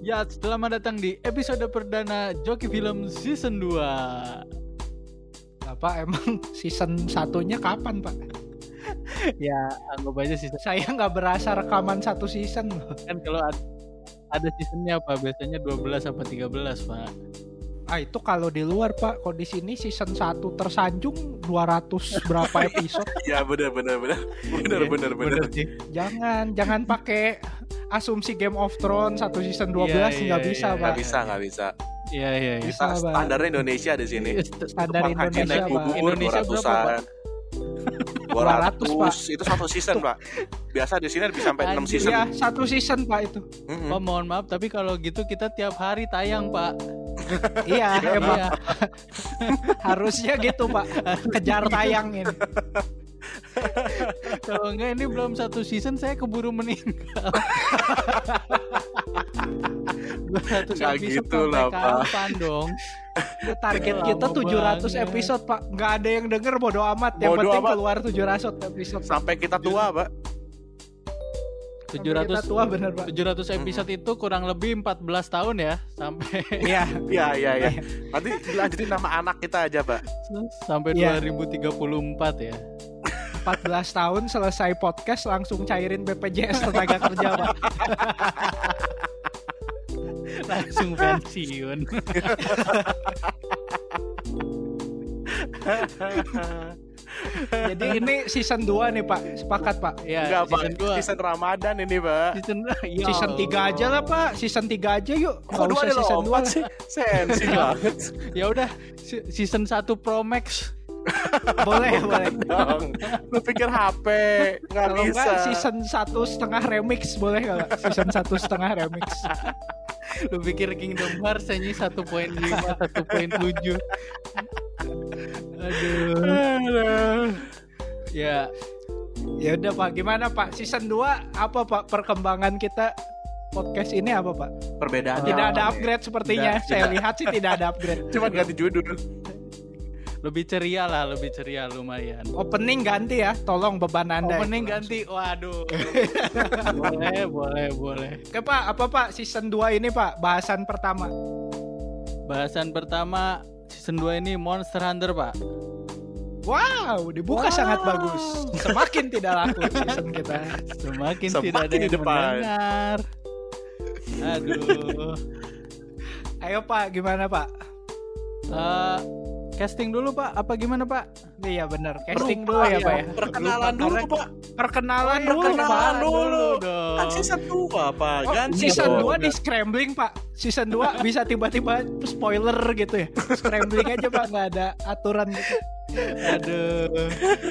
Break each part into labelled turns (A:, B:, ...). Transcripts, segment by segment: A: Ya, selamat datang di episode perdana Joki Film Season 2
B: Bapak emang season satunya kapan Pak?
A: Ya, anggap aja season
B: Saya nggak berasa rekaman satu season loh.
A: kan kalau ad- ada seasonnya apa biasanya 12 apa 13 pak
B: Ah itu kalau di luar Pak, kalau di sini season 1 tersanjung 200 berapa
A: Oh,
B: episode.
C: Ya benar benar benar. Benar
A: Iya,
C: benar benar.
A: sih.
B: jangan, jangan pakai asumsi Game of Thrones satu season 12
A: Iya,
B: nggak
A: iya,
B: bisa
A: iya.
B: Pak.
C: Nggak bisa nggak bisa.
A: Iya iya iya.
B: Bisa,
C: Kita
B: Bang. Iya,
C: standar Indonesia di sini.
B: Standar
C: Tukang haji
B: Indonesia
C: naik
B: Pak.
C: bubur
A: Indonesia
C: dua
A: berapa,
C: ratusan.
B: 200, Pak.
C: 200 itu satu season pak. Biasa di sini bisa sampai 6 season.
B: Iya, satu season Pak itu.
C: Mm-mm.
A: Pak oh, mohon maaf tapi kalau gitu kita tiap hari tayang pak.
B: iya, emang
A: Iya.
B: harusnya gitu Pak. Kejar tayangin.
A: Kalau enggak ini belum satu season saya keburu meninggal. Dua ratus
C: Nggak
A: episode
C: gitu
A: sampai
C: lah, Pak.
A: Kapan dong?
B: Target
A: Lama
B: kita 700
A: banget.
B: episode Pak. Nggak ada yang denger bodo amat. Yang
C: Bodo
B: penting
C: amat.
B: keluar 700 episode.
C: Sampai kita
B: Iya.
C: tua pak.
A: Tujuh
B: Sampai
A: ratus
B: kita tua bener Pak.
A: 700 episode
C: Hmm.
A: itu kurang lebih 14 tahun ya sampai
B: Iya.
C: Iya iya iya. Nanti lanjutin nama anak kita aja pak.
A: sampai
B: Iya.
A: 2034 ya.
B: 14 tahun selesai podcast langsung cairin BPJS tenaga kerja pak
A: Langsung pensiun.
B: jadi ini season 2 nih pak sepakat pak
A: Ya,
C: Enggak pak.
A: season 2.
C: Season Ramadan ini pak.
A: Season, ya
B: season 3 aja lah pak season 3 aja yuk
C: Iya. Kok
B: Nggak
C: dua
B: usah
C: ada
B: season 2
C: lompat sih? Sensi banget
A: Ya udah se- season 1 Pro Max.
B: boleh boleh
C: dong. Lu pikir HP nggak
B: kalau
C: bisa.
B: enggak season satu setengah remix boleh nggak Pak? season satu setengah remix
A: Lu pikir Kingdom Hearts ini 1.5, 1.7. Aduh.
C: Aduh.
A: Ya,
B: ya udah pak gimana pak season 2 apa pak perkembangan kita podcast ini apa pak
C: Perbedaannya
B: tidak
C: apa
B: ada
C: nih?
B: upgrade sepertinya
C: Nah. Tidak,
B: saya
C: tidak.
B: lihat sih tidak ada upgrade
C: Cuman ganti judul.
A: lebih ceria lah, lebih ceria lumayan.
B: opening ganti ya tolong beban anda ya.
A: Opening ganti. Waduh. boleh, boleh, boleh.
B: Oke Eh, Pak, apa Pak season 2 ini Pak? Bahasan pertama.
A: Bahasan pertama season 2 ini Monster Hunter, Pak.
B: Wow, dibuka
A: Wow.
B: sangat bagus. Semakin tidak laku season kita.
A: Semakin, tidak
C: Semakin
A: ada
C: di
A: yang
C: depan.
A: mendengar. Aduh.
B: Ayo Pak, gimana Pak?
A: Eh, casting dulu, Pak. Apa gimana, Pak?
B: Iya bener, casting dulu ya Pak ya.
C: iya. Perkenalan dulu
B: Karena-
C: Pak. Iya,
B: Perkenalan dulu
C: perkenalan
B: Pak.
C: dulu.
A: dong.
C: Kan season 2 Pak.
B: Oh,
C: Ganti
B: season
C: dong.
B: 2 di scrambling Pak. Season 2 bisa tiba-tiba spoiler gitu ya. Scrambling aja Pak, nggak ada aturan gitu.
A: Aduh.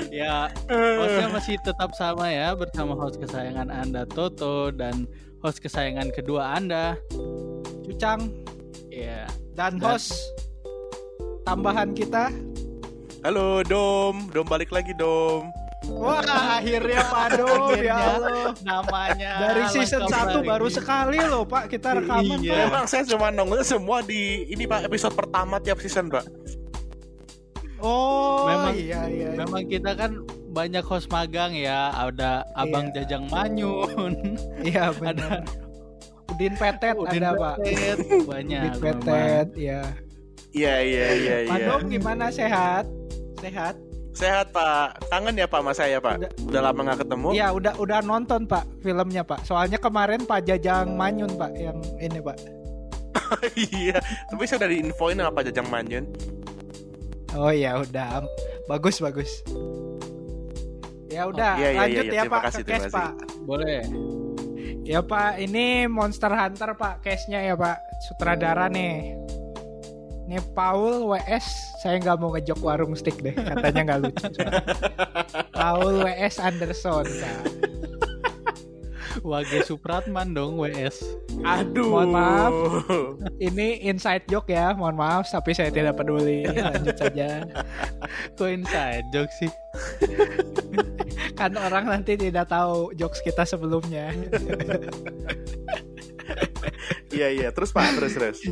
A: ya, hostnya masih tetap sama ya bersama host kesayangan Anda Toto dan host kesayangan kedua Anda.
B: Cucang
A: Ya.
B: dan host tambahan kita.
C: Halo Dom. Dom balik lagi Dom.
B: Wah, akhirnya Pak Dom, ya Allah.
A: namanya
B: Dari
C: Ah,
B: season
A: lengkap
B: 1 baru
A: lagi.
B: sekali loh Pak kita rekaman
A: Iya.
B: Pak.
C: Emang saya cuma nongol semua di ini Pak episode pertama tiap season Pak.
B: Oh,
A: Memang-
B: iya iya. iya.
A: Memang kita kan banyak host magang ya. Ada Abang Jajang Manyun,
B: Iya benar. Udin Petet
A: Udin
B: ada Pak.
A: Petet, banyak.
B: Udin
A: memang.
B: Petet ya.
C: Iya iya iya
B: Pak
C: iya.
B: Dom gimana sehat? Sehat?
C: Sehat Pak. Kangen ya Pak sama saya Pak.
B: Udah.
C: Udah lama nggak ketemu.
B: Iya udah udah nonton Pak filmnya Pak. Soalnya kemarin Pak Jajang Manyun Pak yang ini Pak.
C: Iya. Tapi saya udah diinfoin sama Pak Jajang Manyun.
B: Oh ya udah bagus bagus. Ya udah
C: iya, iya,
B: lanjut
C: iya,
B: ya
C: terima
B: Pak
C: kasih,
B: ke case
C: terima kasih.
B: Pak.
A: Boleh.
B: Ya Pak, ini Monster Hunter Pak, case-nya ya Pak, sutradara nih. Ini Paul WS, saya nggak mau ngejok warung stick deh, katanya nggak lucu. soalnya. Paul WS Anderson Pak.
A: Wage Supratman dong WS.
C: Aduh.
B: Mohon maaf. Ini inside joke ya, mohon maaf, tapi saya tidak peduli. Lanjut saja,
A: Kok inside joke sih?
B: kan orang nanti tidak tahu jokes kita sebelumnya.
C: Iya iya. Terus Pak terus terus.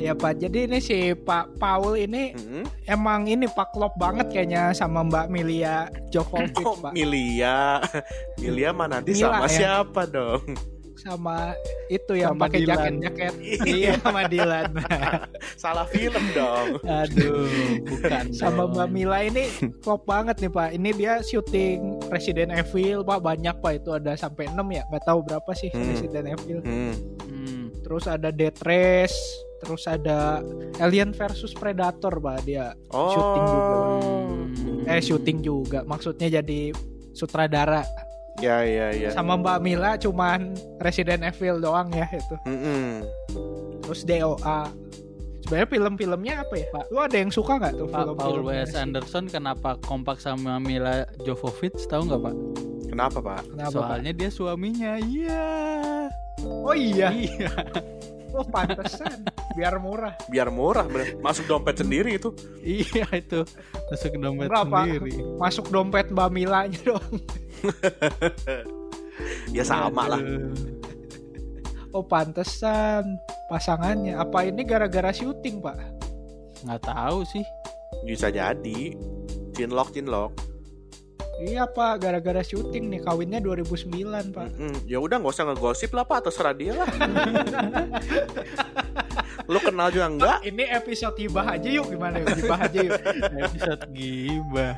B: Ya Pak, jadi ini si Pak Paul ini
C: Mm-mm.
B: emang ini Pak klop banget kayaknya sama Mbak Milia Jokovic
C: Oh,
B: Pak.
C: Milia. Milia mah nanti
B: Mila,
C: sama
B: ya.
C: siapa dong?
B: sama itu yang
A: Sama
B: pakai
A: Dilan.
B: jaket-jaket.
C: Iya,
B: Iya, sama Dilan.
C: salah film dong.
A: Aduh, bukan.
B: sama
A: dong.
B: Mbak
C: Iya.
B: Mila ini klop banget nih Pak. Ini dia syuting Resident Evil Pak banyak Pak itu ada sampai 6 ya, nggak tahu berapa sih
C: Hmm.
B: Resident Evil.
C: Hmm.
A: Hmm.
B: Terus ada Death Race, terus ada Alien versus Predator Pak dia.
C: Oh.
B: Syuting juga.
A: Hmm.
B: Eh syuting juga, maksudnya jadi sutradara.
C: Ya ya ya.
B: Sama Mbak Mila cuman Resident Evil doang ya itu.
C: Mm-mm.
B: Terus DOA. Sebenarnya film-filmnya apa ya Pak? Lu ada yang suka nggak tuh
A: Pak Paul
B: film-film
A: W.S. Anderson kenapa kompak sama Mila Jovovich tahu nggak Pak?
C: Kenapa pak?
B: Kenapa, Pak?
A: Soalnya dia suaminya. Iya.
B: Oh iya,
A: Iya.
B: oh pantesan. Biar murah.
C: Biar murah bener. Masuk dompet sendiri itu.
A: Iya itu masuk ke dompet
B: Enggak, Pak.
A: sendiri.
B: masuk dompet Mbak Milanya doang.
C: Ya sama lah.
A: Aduh.
B: Oh pantesan pasangannya. Apa ini gara-gara syuting pak?
A: Nggak tahu sih.
C: Bisa jadi. Cinlok cinlok.
B: Iya pak, gara-gara syuting nih kawinnya 2009 pak.
C: Mm-mm. Ya udah nggak usah ngegosip lah pak. Terserah dia lah. Lu kenal juga enggak?
B: Ini episode hibah aja yuk gimana yuk hibah aja yuk.
A: Episode gibah.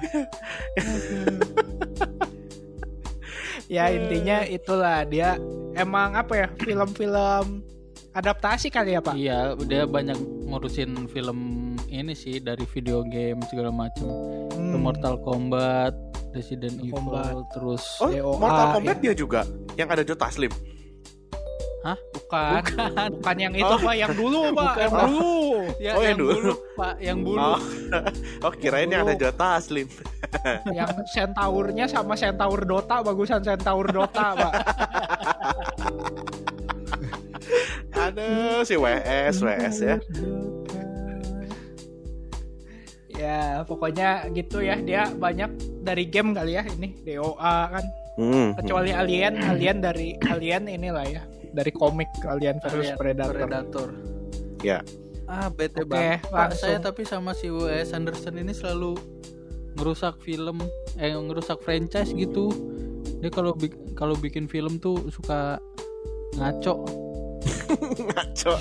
B: ya intinya itulah dia emang apa ya film-film adaptasi kali ya pak.
A: Iya, dia banyak ngurusin film ini sih dari video game segala macam.
B: Hmm,
A: Mortal Kombat, Resident Evil,
B: Kombat.
A: terus
C: Oh,
B: DOA,
C: Mortal Kombat dia juga yang ada Joe Taslim.
B: bukan
A: bukan. Oh.
B: bukan yang itu pak, yang dulu pak,
A: Bukan,
B: yang
A: Pak.
B: dulu.
A: Ya,
C: Oh, yang
A: yang
C: dulu.
A: bulu, Pak, yang bulu.
C: Oh, oh kirain yang ada
B: Dulu.
C: Joe Taslim.
B: yang centaurnya sama centaur Dota bagusan centaur Dota pak.
C: Ada si WS, WS ya.
B: Ya pokoknya gitu ya dia banyak dari game kali ya ini DOA kan
C: Hmm.
B: kecuali Alien Alien dari Alien inilah ya dari komik Alien versus
A: Alien
B: Predator.
A: Predator.
C: Ya.
A: Ah, bete
B: Oke,
A: banget. Pak,
B: langsung.
A: saya tapi sama si W.S. Anderson ini selalu ngerusak film, eh ngerusak franchise gitu. Dia kalau bik- kalau bikin film tuh suka ngaco,
C: Ngaco.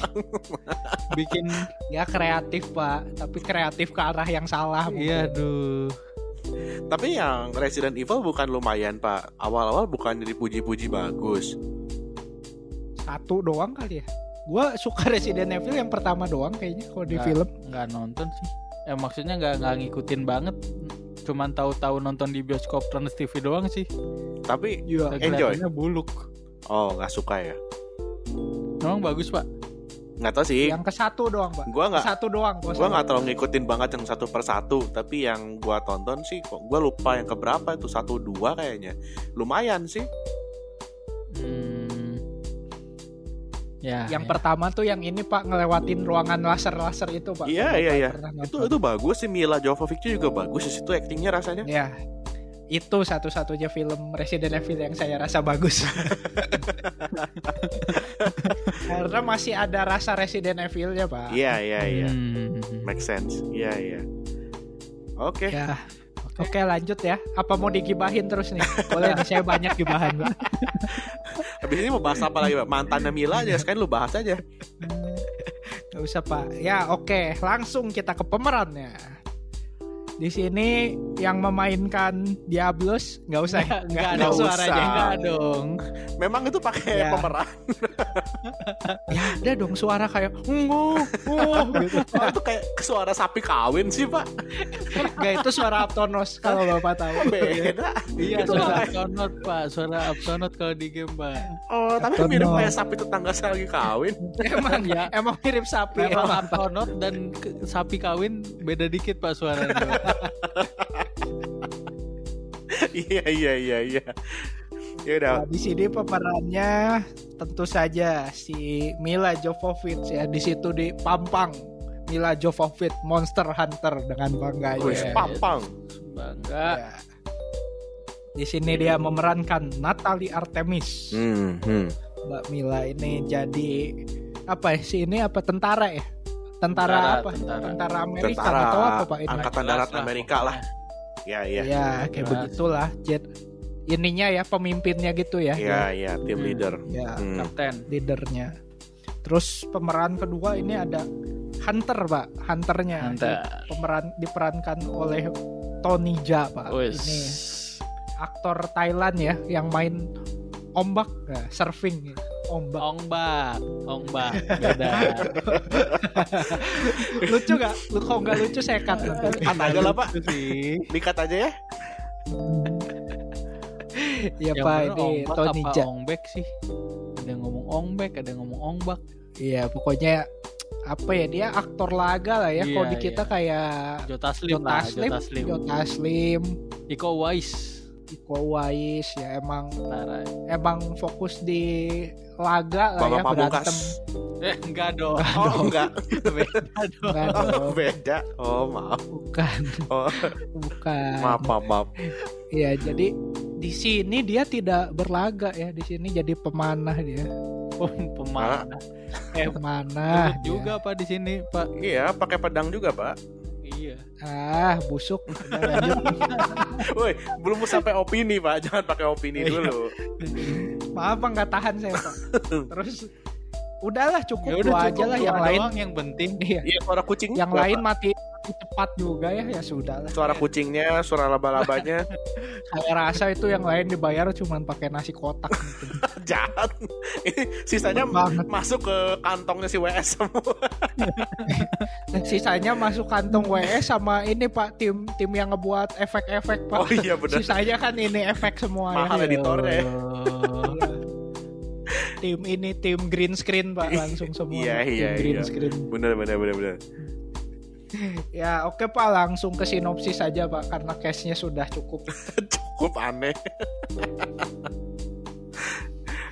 A: bikin
B: Ya kreatif pak, tapi kreatif ke arah yang salah.
A: iya
B: mungkin.
A: aduh.
C: Tapi yang Resident Evil bukan lumayan pak. Awal-awal bukan dipuji-puji bagus.
B: Satu doang kali ya. Gua suka Resident Evil yang pertama doang kayaknya kalau di
A: Nah.
B: film.
A: Nggak nonton sih. Eh maksudnya nggak nggak ngikutin banget. Cuman tahu-tahu nonton di bioskop Trans TV doang sih.
C: Tapi
B: Iya.
C: Enjoy.
A: Kelihatannya buluk.
C: oh nggak suka ya.
A: Emang bagus pak.
C: Nggak tahu sih.
B: Yang ke satu doang pak.
C: Gua nggak.
B: Satu doang. Gua
C: Gua nggak terlalu ngikutin banget yang satu persatu. Tapi yang gua tonton sih, kok gua lupa yang keberapa itu satu dua kayaknya. Lumayan sih.
A: Hmm. Ya. ya.
B: yang pertama tuh yang ini pak ngelewatin ruangan laser-laser itu pak.
C: Iya,
B: Kalau
C: iya,
B: Pak
C: iya.
B: pernah
C: Itu
B: nonton.
C: itu bagus sih Mila Jovovich juga bagus. Di situ actingnya rasanya.
B: Ya, itu satu-satunya film Resident Evil yang saya rasa bagus. Karena masih ada rasa Resident Evil-nya, Pak.
C: Iya iya iya.
A: Hmm.
C: Make sense. Iya iya. Eh, Oke.
B: Ya. Oke lanjut ya Apa mau digibahin terus nih Boleh nih saya banyak gibahan Pak.
C: Habis ini mau bahas apa lagi, Pak? Mantannya Mila aja, sekalian lu bahas aja.
B: Gak usah Pak Ya oke Langsung kita ke pemerannya di sini yang memainkan Diablos nggak usah ya?
A: Nggak
B: Nggak
A: ada
C: usah.
A: suaranya enggak dong.
C: Memang itu pakai
B: Ya.
C: pemeran.
B: ya ada dong suara kayak ngoh ngoh gitu.
C: Oh, itu kayak suara sapi kawin sih, Pak.
B: Nggak, itu suara Aptonos kalau bapak tahu
C: Beda.
A: Iya,
C: Itu
A: suara
C: kayak-
A: Aptonaut, Pak. Suara Aptonaut kalau di game, Pak.
C: Oh, tapi
B: Atau
C: mirip
B: no.
C: kayak sapi tetangga saya lagi kawin.
B: emang
A: Ya.
B: emang mirip sapi
A: Memang
B: emang.
A: Aptonaut dan ke- sapi kawin beda dikit, Pak, suaranya.
C: Iya, iya, iya, iya. Ya udah.
B: Nah, di sini pemerannya tentu saja si Mila Jovovich ya di situ di Pampang Mila Jovovich Monster Hunter dengan bangga ya.
C: Wih,
A: Iya.
C: pampang.
A: Bangga.
B: Di sini dia memerankan Natalie Artemis.
C: Hmm,
B: Mbak Mila ini jadi apa ya sih ini apa tentara ya? Tentara,
A: Tentara,
B: apa? Tentara,
A: tentara.
B: Amerika
C: Tentara
B: atau apa Pak ini?
C: Angkatan
A: Jelas
C: Darat
A: lah,
C: Amerika lah. Iya, iya.
B: Ya, kayak
A: Jelas.
B: begitulah. Jet ininya ya pemimpinnya gitu ya.
C: Iya, iya, tim
A: Hmm.
C: leader.
B: Ya,
C: Hmm.
A: kapten
B: leadernya. Terus pemeran kedua ini ada Hunter, Pak. Hunternya
A: Hunter.
B: Di- pemeran diperankan oleh Tony Jaa, Pak.
A: Wes.
B: Ini aktor Thailand ya yang main ombak, nah, surfing gitu.
A: Oh.
B: ombak.
A: Ongbak, ongbak, beda.
B: Lucu gak? Lu kalau nggak lucu saya cut nanti.
C: Cut aja lah, Pak.
A: Itu sih.
C: Dikat aja ya.
A: Yang
B: Iya, Pak,
A: bener
B: ini
A: ongbak
B: Tony
A: apa
B: Jaa.
A: ongbek sih? Ada yang ngomong ongbek, ada yang ngomong ongbak.
B: Iya, pokoknya apa ya dia aktor laga lah ya. Kalau
A: Iya,
B: di kita kayak
A: Jota Slim
B: Jota
A: lah,
B: Slim,
A: Jota Slim.
B: Jota Slim,
A: Iko Uwais.
B: Iko Uwais ya emang
A: Tara.
B: emang fokus di laga lah
C: Bapak
B: ya berantem.
C: Pamungkas.
A: Eh, enggak dong.
C: Oh, enggak.
A: Beda dong.
B: Bukan, dong,
C: Beda. Oh, maaf.
B: bukan,
C: Oh,
B: bukan.
C: maaf, maaf, maaf.
B: Ya jadi di sini dia tidak berlaga ya di sini jadi pemanah dia
A: Pem- Pemanah. Eh,
B: pemanah
A: Turut
B: dia.
A: juga Pak di sini, Pak.
C: Iya, pakai pedang juga, Pak.
A: Iya.
B: ah busuk Udah, lanjut.
C: Woi, belum sampai opini, Pak. Jangan pakai opini
A: Iya.
C: dulu.
B: maaf Pak, nggak tahan saya pak terus udahlah cukup
A: Ya
B: dua
A: udah
B: aja lah yang lain
A: yang penting.
B: Iya.
C: Iya, suara kucing.
B: yang
C: berapa?
B: lain mati mati cepat juga ya ya sudahlah
C: Suara kucingnya, suara laba-labanya
B: saya rasa itu yang lain dibayar cuman pakai nasi kotak gitu.
C: jahat. Ini sisanya
B: Banget.
C: masuk ke kantongnya si WS semua.
B: sisanya masuk kantong WS sama ini pak tim tim yang ngebuat efek-efek pak
C: Oh iya benar.
B: sisanya kan ini efek semua ya
C: Mahal editornya. ya.
A: Allah.
B: tim ini tim green screen pak langsung semua
C: Iya,
B: tim
C: iya,
B: green
C: iya.
B: screen
C: Bener bener bener bener.
B: ya oke pak langsung ke sinopsis aja pak karena case-nya sudah cukup
C: Cukup aneh.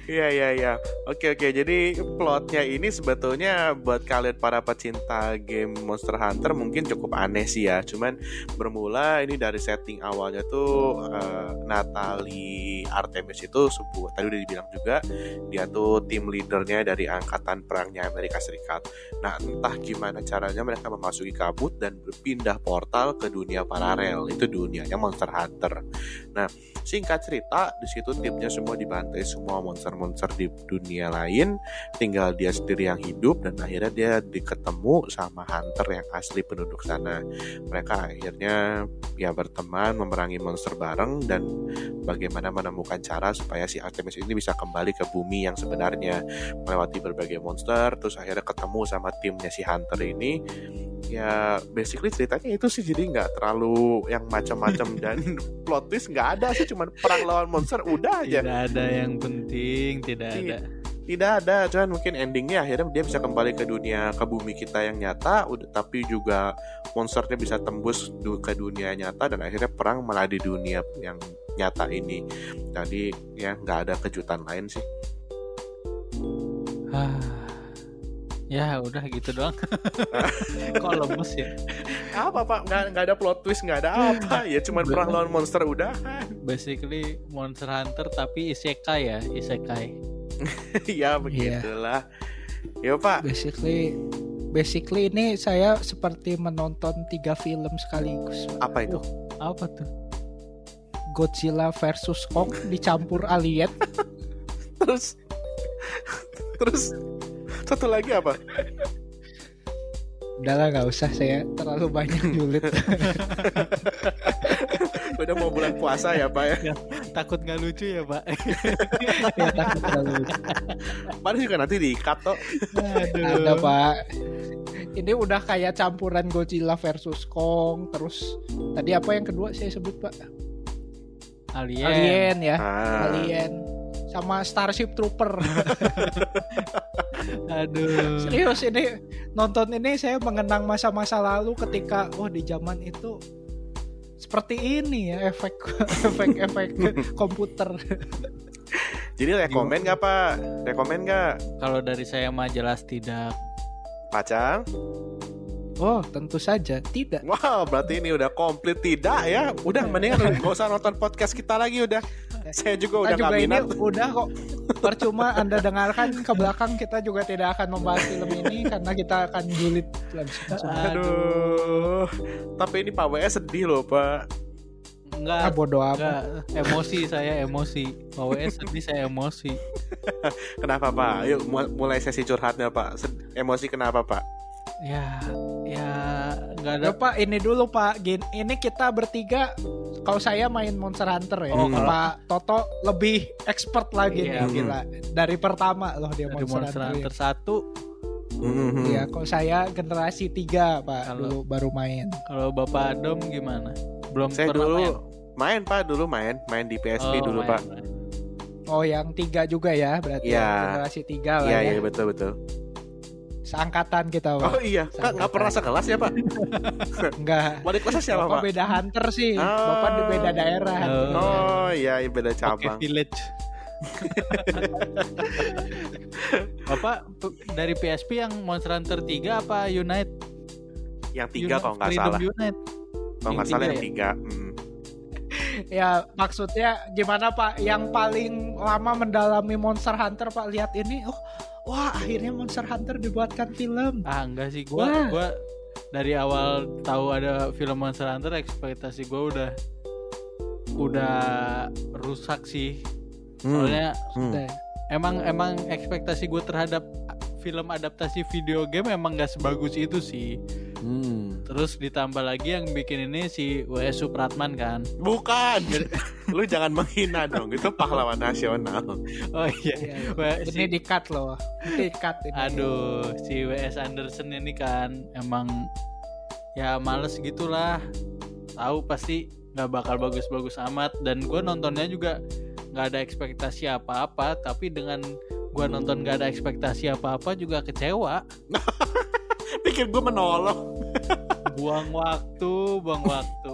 C: Iya iya iya. Oke oke. Jadi plotnya ini sebetulnya buat kalian para pecinta game Monster Hunter mungkin cukup aneh sih ya. Cuman bermula ini dari setting awalnya tuh eh, Natalie Artemis itu sebuah tadi udah dibilang juga dia tuh tim leadernya dari angkatan perangnya Amerika Serikat. Nah entah gimana caranya mereka memasuki kabut dan berpindah portal ke dunia paralel itu dunianya Monster Hunter. Nah singkat cerita di situ timnya semua dibantai semua monster-monster di dunia lain, tinggal dia sendiri yang hidup dan akhirnya dia diketemu sama Hunter yang asli penduduk sana. Mereka akhirnya ya berteman memerangi monster bareng dan bagaimana menemukan cara supaya si Artemis ini bisa kembali ke bumi yang sebenarnya melewati berbagai monster terus akhirnya ketemu sama timnya si Hunter ini ya basically ceritanya itu sih jadi nggak terlalu yang macam-macam dan plot twist nggak ada sih cuman perang lawan monster udah aja
A: Tidak ada yang penting, tidak ada.
C: tidak ada cuman mungkin endingnya akhirnya dia bisa kembali ke dunia ke bumi kita yang nyata ud- tapi juga monsternya bisa tembus du- ke dunia nyata dan akhirnya perang malah di dunia yang nyata ini tadi ya nggak ada kejutan lain sih
A: Ah. ya udah gitu doang. Kok lemes ya?
C: apa pak nggak nggak ada plot twist nggak ada apa ya cuman perang lawan monster udah
A: Basically Monster Hunter tapi isekai ya, isekai.
C: ya begitulah ya pak
B: basically basically ini saya seperti menonton tiga film sekaligus Pak.
C: apa itu
A: Apa tuh?
B: Godzilla versus Kong dicampur alien
C: terus terus satu lagi apa
B: udahlah nggak usah saya terlalu banyak julid
C: udah mau bulan puasa ya pak ya
A: Takut nggak lucu ya, Pak?
B: ya takut terlalu
C: paling juga nanti diikat toh
A: Aduh.
B: ada pak ini udah kayak campuran Godzilla versus Kong terus tadi apa yang kedua saya sebut pak
A: Alien.
B: alien ya
C: Ah.
B: alien sama Starship Trooper
A: Aduh.
B: serius ini nonton ini saya mengenang masa-masa lalu ketika oh di zaman itu seperti ini ya efek efek efek komputer
C: Jadi
B: Iya.
C: rekomen nggak pak? Rekomen nggak?
A: Kalau dari saya mah jelas tidak.
C: Pacang?
B: oh tentu saja tidak
C: Wah berarti ini udah komplit tidak ya? Udah
B: Iya.
C: mendingan udah nggak usah nonton podcast kita lagi udah. Saya juga udah
B: kita juga
C: nggak
B: ini
C: minat.
B: udah kok percuma anda dengarkan ke belakang kita juga tidak akan membahas film ini karena kita akan julid langsung
C: Aduh. Tapi ini Pak WS sedih loh pak.
A: enggak
B: ah bodo apa
A: enggak emosi saya emosi OWS sedih saya emosi
C: Kenapa Pak? Yuk mu- mulai sesi curhatnya Pak. Sed- Emosi kenapa Pak?
A: ya ya nggak ada
B: Ya pak ini dulu pak Gin, Ini kita bertiga Kalau saya main Monster Hunter ya
A: Oh,
C: kalau-
B: Pak Toto lebih expert lagi
A: Iya.
B: nih gila Dari pertama loh dia
A: dari
B: Monster,
A: Monster
B: Hunter
A: Hunter satu
B: Iya kalau saya generasi 3 pak
A: Kalau-
B: Dulu baru main
A: kalau Bapak Adam gimana belum
C: Saya
A: pernah
C: dulu
A: main?
C: main Pak, dulu main, main di PSP
A: Oh,
C: dulu
A: main,
C: Pak.
A: main.
B: Oh yang 3 juga ya Berarti
C: Iya.
B: yang generasi 3 lah
C: Iya,
B: ya
C: iya betul betul.
B: Seangkatan kita pak
C: Oh iya, Pak nggak pernah sekelas ya Pak?
B: Enggak
C: Wali kelasnya siapa
B: Bapak
C: Pak?
B: beda hunter sih
C: Ah.
B: Bapak di beda daerah
A: Oh.
C: Oh iya, iya, beda
A: Oke,
C: cabang.
A: village. Bapak p- dari PSP yang Monster Hunter 3 apa Unite?
C: Yang tiga
A: Unite
C: kalau nggak
A: Freedom
C: salah,
A: Unite.
C: kalau
A: Yang
C: nggak salah
A: tiga
C: yang
A: ya?
C: tiga. Hmm.
B: Ya maksudnya gimana Pak? Yang paling lama mendalami Monster Hunter Pak lihat ini, oh wah akhirnya Monster Hunter dibuatkan film.
A: Ah, enggak sih gua
B: Wah.
A: gua dari awal tahu ada film Monster Hunter ekspektasi gua udah udah rusak sih.
C: Hmm,
A: Soalnya
C: hmm.
B: Nah,
A: emang emang ekspektasi gua terhadap film adaptasi video game emang gak sebagus itu sih.
C: hmm.
A: Terus ditambah lagi yang bikin ini si W.S. Supratman kan.
C: Bukan. Lu jangan menghina dong. Itu pahlawan nasional.
A: Oh iya.
B: iya, iya.
A: W- si-
B: ini di cut loh, di cut ini.
A: Aduh, si WS Anderson ini kan emang ya males gitulah. Tahu pasti nggak bakal bagus-bagus amat dan gue nontonnya juga nggak ada ekspektasi apa-apa. Tapi dengan gue nonton nggak ada ekspektasi apa-apa juga kecewa.
C: Pikir gue menolong.
A: Buang waktu, buang waktu.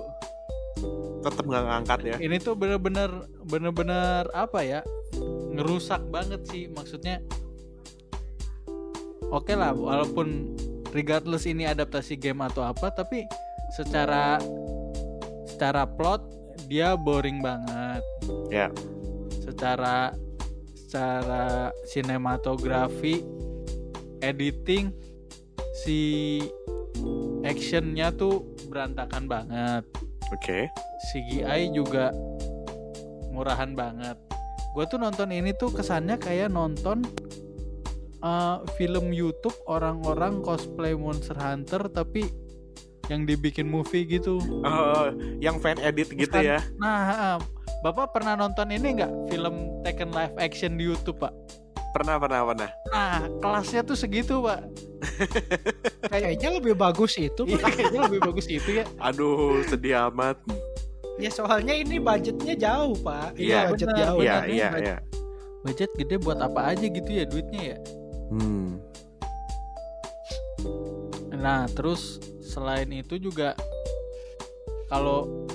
C: Tetap nggak ngangkat ya.
A: Ini tuh bener-bener bener-bener apa ya? Ngerusak banget sih maksudnya. Oke lah, walaupun regardless ini adaptasi game atau apa, tapi secara secara plot dia boring banget.
C: Ya.
A: Secara secara sinematografi, editing, si actionnya tuh berantakan banget.
C: Oke.
A: CGI juga murahan banget. Gue tuh nonton ini tuh kesannya kayak nonton uh, film YouTube orang-orang cosplay Monster Hunter tapi yang dibikin movie gitu.
C: Oh, yang fan edit gitu
A: Bukan.
C: ya.
A: Nah, uh, Bapak pernah nonton ini nggak film Taken live action di YouTube, Pak?
C: Pernah, pernah, pernah.
A: Nah, kelasnya tuh segitu, Pak.
B: Kayaknya lebih bagus itu.
A: Iya,
B: Pak.
A: kayaknya lebih bagus itu ya.
C: Aduh, sedih amat.
B: Ya soalnya ini budgetnya jauh Pak. Ini
C: Iya,
B: budget
A: benar,
B: jauh.
A: benar.
C: Iya,
A: Beneran,
C: iya,
A: beneran.
C: iya.
A: Budget gede buat apa aja gitu ya duitnya ya.
C: Hmm.
A: Nah, terus selain itu juga kalau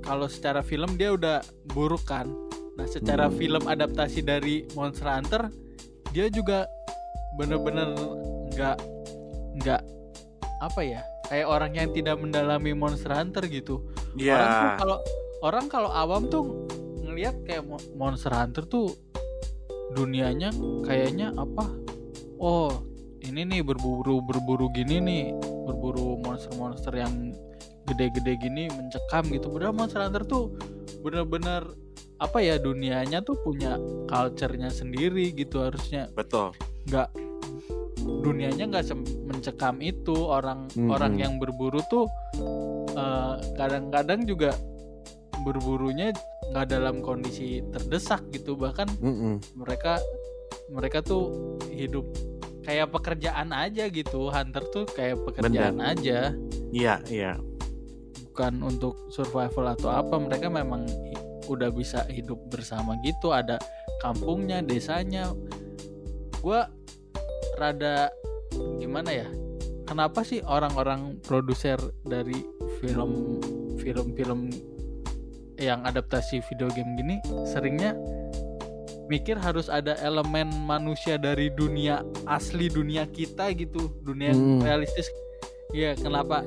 A: kalau secara film dia udah buruk kan. Nah, secara
C: Hmm.
A: film adaptasi dari Monster Hunter dia juga bener-bener nggak nggak apa ya kayak orang yang tidak mendalami Monster Hunter gitu.
C: Iya.
A: Orang tuh kalau orang kalau awam tuh ngelihat kayak Mo- Monster Hunter tuh dunianya kayaknya apa? Oh, ini nih berburu berburu gini nih, berburu monster-monster yang gede-gede gini mencekam gitu. Padahal Monster Hunter tuh bener-bener apa ya dunianya tuh punya culture-nya sendiri gitu harusnya
C: Betul.
A: nggak dunianya nggak sem- mencekam itu orang
C: Mhm.
A: orang yang berburu tuh eh, kadang-kadang juga berburunya nggak dalam kondisi terdesak gitu bahkan mereka mereka tuh hidup kayak pekerjaan aja gitu hunter tuh kayak pekerjaan aja
C: Iya, iya.
A: bukan untuk survival atau apa mereka memang hi- udah bisa hidup bersama gitu ada kampungnya desanya gua rada gimana ya kenapa sih orang-orang produser dari film film-film yang adaptasi video game gini seringnya mikir harus ada elemen manusia dari dunia asli dunia kita gitu dunia yang
C: Hmm.
A: realistis Iya kenapa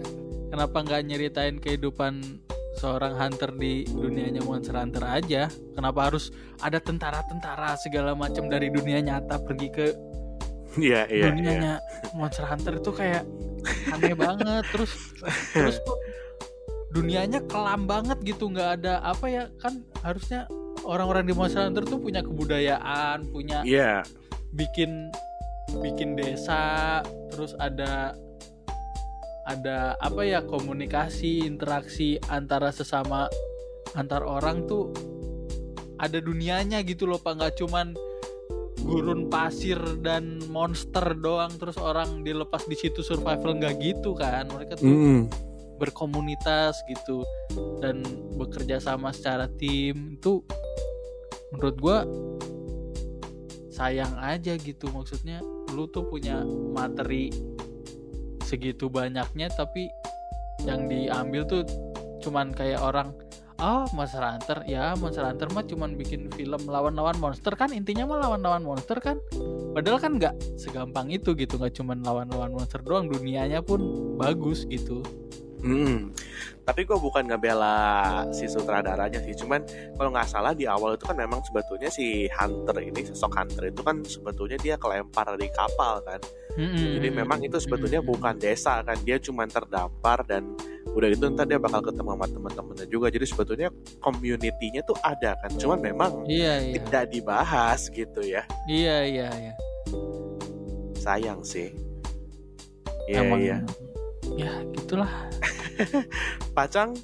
A: kenapa nggak nyeritain kehidupan seorang hunter di dunianya monster hunter aja kenapa harus ada tentara-tentara segala macam dari dunia nyata pergi ke
C: Iya, iya, iya.
A: dunianya Monster Hunter itu kayak aneh banget terus terus tuh dunianya kelam banget gitu nggak ada apa ya kan harusnya orang-orang di Monster Hunter tuh punya kebudayaan punya
C: Iya,
A: bikin bikin desa terus ada ada apa ya komunikasi interaksi antara sesama antar orang tuh ada dunianya gitu loh pak nggak cuman gurun pasir dan monster doang terus orang dilepas di situ survival nggak gitu kan mereka tuh
C: Mm-mm.
A: berkomunitas gitu dan bekerja sama secara tim itu menurut gua sayang aja gitu maksudnya lu tuh punya materi segitu banyaknya tapi yang diambil tuh cuman kayak orang ah Monster Hunter ya Monster Hunter mah cuman bikin film lawan-lawan monster kan intinya mah lawan-lawan monster kan padahal kan nggak segampang itu gitu nggak cuman lawan-lawan monster doang dunianya pun bagus gitu Hmm.
C: Mm-mm. Tapi gue bukan ngebela si sutradaranya sih, cuman kalau nggak salah di awal itu kan memang sebetulnya si Hunter ini, sosok Hunter itu kan sebetulnya dia kelempar dari kapal kan. Jadi
A: Hmm.
C: memang itu sebetulnya bukan desa kan, dia cuman terdampar dan udah gitu ntar dia bakal ketemu sama teman-temannya juga. Jadi sebetulnya community-nya tuh ada kan, cuman memang
A: Iya iya.
C: tidak dibahas gitu ya.
A: Iya iya iya.
C: Sayang sih. Iya
A: Emang-
C: iya.
A: Ya gitulah.
C: Pacang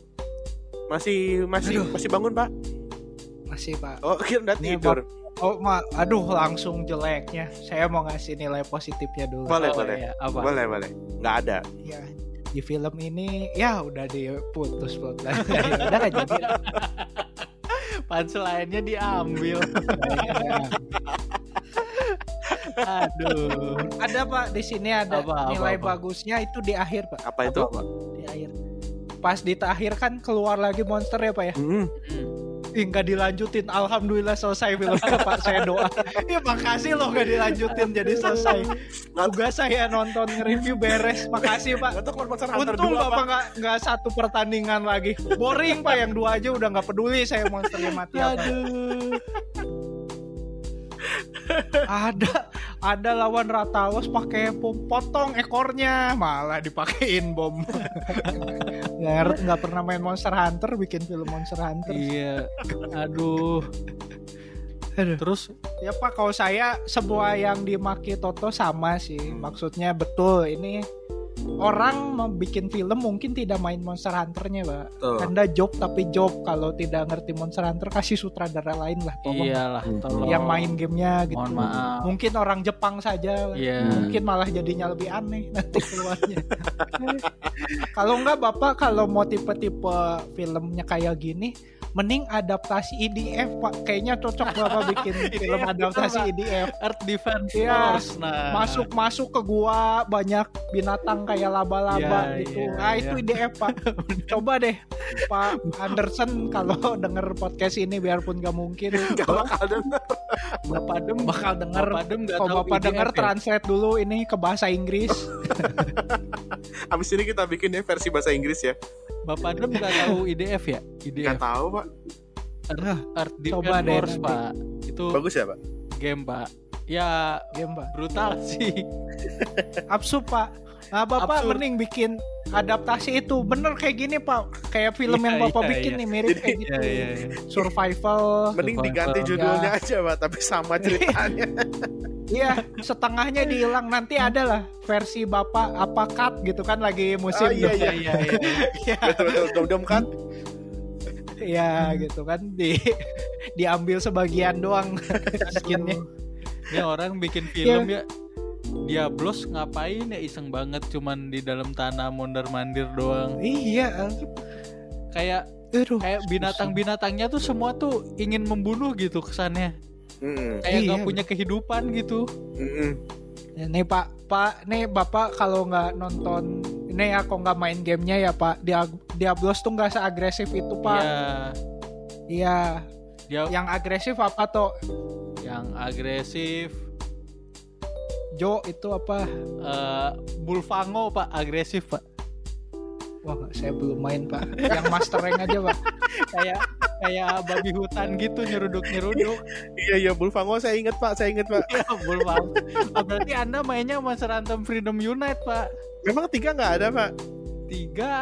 C: masih masih
B: Aduh.
C: masih bangun pak?
B: Masih Pak.
C: Oh kira udah
B: Iya,
C: tidur.
B: Oh, ma aduh langsung jeleknya. Saya mau ngasih nilai positifnya dulu.
C: Boleh,
A: Oh,
C: boleh.
A: iya, Apa?
C: Boleh boleh. Nggak ada.
B: Ya, di film ini ya udah diputus plotnya. udah nggak jadi.
A: Pansel lainnya diambil. Aduh.
B: Ada Pak di sini ada
A: Apa, apa,
B: nilai
A: apa?
B: bagusnya itu di akhir Pak.
C: Apa itu?
B: Apa, Pak? Di akhir. Pas di akhir kan keluar lagi monster ya Pak ya.
C: Mm-mm.
B: Ih, nggak dilanjutin. Alhamdulillah selesai filmnya Pak. Saya doa. Ya makasih loh nggak dilanjutin jadi selesai. Tugas saya nonton review beres. Makasih Pak.
C: Atau keluar Monster Hunter
B: Untung
C: dua,
B: bapak nggak nggak satu pertandingan lagi. Boring pak yang dua aja udah nggak peduli saya monsternya mati apa.
A: Aduh.
B: Ada ada lawan Ratalos pakai bom potong ekornya malah dipakein bom. nggak ngerti- nggak pernah main Monster Hunter bikin film Monster Hunter.
A: Iya. Aduh.
B: Aduh.
A: Terus
B: Ya pak kalau saya semua yang dimaki Toto sama sih.
A: Hmm.
B: Maksudnya betul ini orang mau bikin film mungkin tidak main Monster Hunternya pak.
C: Tuh.
A: Oh.
B: Anda job tapi job kalau tidak ngerti Monster Hunter kasih sutradara lain lah tolong
A: iyalah tolong.
B: yang main gamenya gitu.
A: Iya. Mohon maaf.
B: Mungkin orang Jepang saja. lah.
A: Iya.
B: Mungkin malah jadinya lebih aneh nanti keluarnya. kalau enggak Bapak kalau mau tipe-tipe filmnya kayak gini mending adaptasi IDF Pak. Kayaknya cocok Bapak bikin
A: E
B: film
A: betul, Pak.
B: adaptasi IDF.
A: Earth Defense
B: Iya.
A: Force. Nah.
B: Masuk-masuk ke gua banyak binatang kayak laba-laba
A: Iya,
B: gitu.
A: iya,
B: ah
A: iya.
B: itu IDF Pak. Coba deh Pak Anderson kalau denger podcast ini biarpun gak mungkin
C: Nggak bakal denger.
A: Bapak Dem.
B: bakal denger
A: Bapak Dem nggak
B: kalau
A: tahu
B: Oh, bapak
A: IDF
B: denger
A: ya?
B: translate dulu ini ke bahasa Inggris
C: Abis ini kita bikin deh versi bahasa Inggris ya.
A: Bapak Dem nggak tahu IDF ya?
C: Nggak
A: IDF
C: tahu pak.
A: Earth
B: Coba
A: Defense
B: deh
A: Force,
B: nanti.
A: Pak. Itu
C: Bagus ya pak.
A: game, Pak. Ya
B: game pak
A: brutal sih.
B: absurd pak nah, bapak
A: Absurd.
B: mending bikin adaptasi itu bener kayak gini pak kayak film
A: Iya,
B: yang bapak
A: iya,
B: bikin
A: iya.
B: nih mirip
C: Jadi-
B: kayak gitu
A: Iya iya iya.
B: survival
C: Mending
A: Survival.
C: diganti judulnya aja pak, tapi sama ceritanya.
B: iya setengahnya dihilang nanti ada lah versi bapak apa cut gitu kan lagi musim
C: Oh, iya,
B: tuh.
A: Iya iya iya.
C: betul betul dom dom kan.
B: Iya, gitu kan di diambil sebagian doang skinnya
A: Ini orang bikin film ya Diablos ngapain ya iseng banget cuman di dalam tanah mondar-mandir doang.
B: iya
A: Kayak
B: aduh
A: kayak binatang-binatangnya tuh semua tuh ingin membunuh gitu kesannya.
C: Mm-mm.
A: Kayak nggak
B: Iya.
A: punya kehidupan gitu.
C: Mm-mm.
B: Ya, Nih Pak, Pak, nih Bapak kalau nggak nonton, ini ya kalau nggak main gamenya ya Pak, Dia- Diablos tuh nggak seagresif itu Pak.
A: Iya.
B: Iya.
A: Dia
B: Yang agresif apa toh?
A: yang agresif
B: Jo itu apa?
A: eh Bulfango Pak agresif Pak.
B: Wah, nggak, saya belum main Pak. Yang Master Rank aja Pak.
A: Kayak kayak babi hutan gitu nyeruduk-nyeruduk.
C: Iya iya Bulfango saya inget pak, saya inget pak.
A: Ya, Bulfango. Ah, Berarti Anda mainnya Monster Anthem Freedom Unite Pak.
C: Memang tiga nggak ada pak.
A: tiga